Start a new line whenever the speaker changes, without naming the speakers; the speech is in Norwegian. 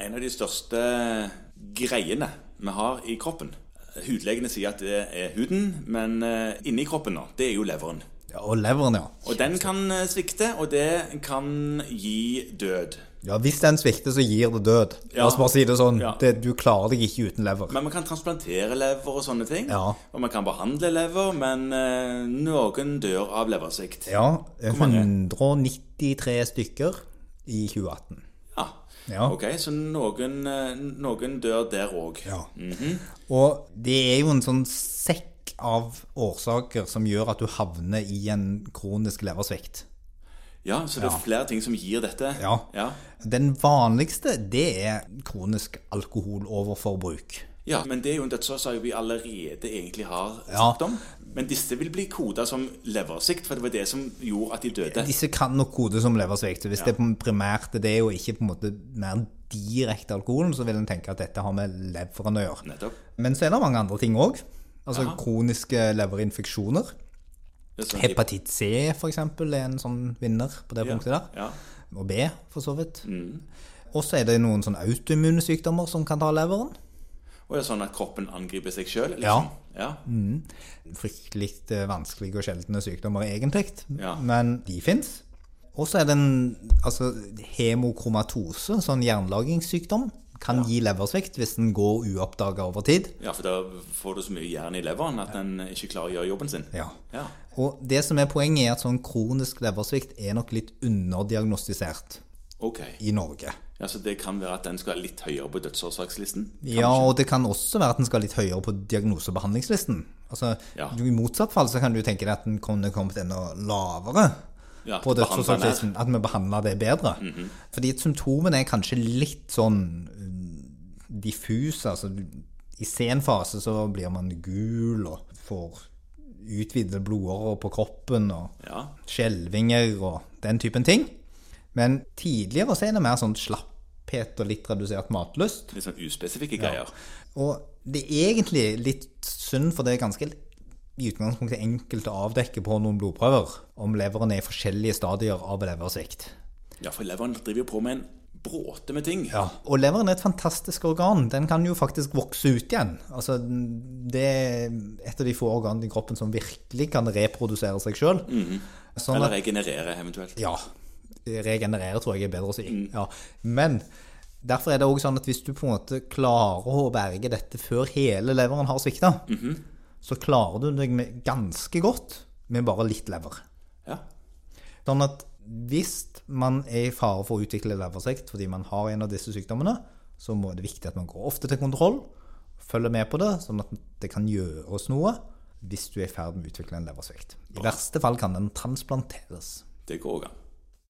en av de største greiene vi har i kroppen. Hudlegene sier at det er huden, men eh, inni kroppen nå, det er jo leveren.
Ja, og leveren, ja.
Og den kan eh, svikte, og det kan gi død.
ja. Hvis den svikter, så gir det død.
Ja.
La oss bare si det sånn.
Ja.
Det, du klarer deg ikke uten lever.
Men man kan transplantere lever og sånne ting.
Ja.
Og man kan behandle lever, men eh, noen dør av leversvikt.
Ja,
mange?
193 stykker i 2018.
Ja.
Ja.
Ok, så noen, eh, noen dør der òg.
Ja.
Mhm.
Og det er jo en sånn sekk av årsaker som gjør at du havner i en kronisk leversvikt.
Ja, så det er flere ting som gir dette.
Ja.
ja.
Den vanligste, det er kronisk alkoholoverforbruk.
Ja, men det er jo en dødsårsak vi allerede egentlig har
Ja.
snakket om. Men disse vil bli koda som leversikt, for det var det som gjorde at de døde.
Disse kan nok kode som leversvikt. så Hvis det er primært det og ikke på en måte mer direkte alkoholen, så vil en tenke at dette har med leveren å gjøre.
Nettopp.
Men så er det mange andre ting òg. Altså kroniske leverinfeksjoner.
Det er sånn-
Hepatitt C, for eksempel, er en sånn vinner på det punktet der.
Ja. Mm.
og B, for så vidt. Og så er det noen sånne autoimmune sykdommer som kan ta leveren.
Og det er sånn at kroppen angriper seg sjøl, liksom.
Ja. Mm.
Ja.
Fryktelig eh, vanskelige og sjeldne sykdommer, egentlig,
Ja.
men de fins. Og så er det en altså, hemokromatose, sånn jernlagingssykdom, kan gi leversvikt hvis den går uoppdaga over tid.
ja, for da får du så mye jern i leveren at den ikke klarer å gjøre jobben sin.
Ja.
Ja.
Og det som er poenget, er at sånn kronisk leversvikt er nok litt underdiagnostisert
Ok.
i Norge.
Ja, Så det kan være at den skal litt høyere på dødsårsakslisten?
Ja, og det kan også være at den skal litt høyere på diagnosebehandlingslisten. Altså,
Ja.
du- I motsatt fall så kan du tenke deg at den kunne kommet enda lavere
Ja,
på
behandler den Mhm.
dødsårsakslisten. At vi behandla det bedre. Fordi symptomene er kanskje litt sånn mm, diffuse. Altså, du- I sen fase så blir man gul og får utvidede blodårer på kroppen og
Ja.
skjelvinger og den typen ting. Men tidligere så er det mer sånn slapphet og litt redusert matlyst.
Litt sånn uspesifikke greier.
Og det er egentlig litt synd, for det er ganske i utgangspunktet enkelt å avdekke på noen blodprøver om leveren er i forskjellige stadier av leversvikt.
Ja, for leveren driver jo på med en bråte med ting.
Og leveren er et fantastisk organ. Den kan jo faktisk vokse ut igjen. Altså, det er et av de få organene i kroppen som virkelig kan reprodusere seg sjøl. Sånn at
Eller regenerere, eventuelt.
Ja. Regenerere tror jeg er bedre å si. Ja. Men derfor er det også sånn at hvis du på en måte klarer å berge dette før hele leveren har svikta, så klarer du deg med ganske godt med bare litt lever.
Ja.
Sånn at hvis man er i fare for å utvikle leversvikt fordi man har en av disse sykdommene, så må det viktig at man går ofte til kontroll, følger med på det, sånn at det kan gjøres noe hvis du er i ferd med å utvikle en leversvikt. I verste fall kan den transplanteres.
Det går an.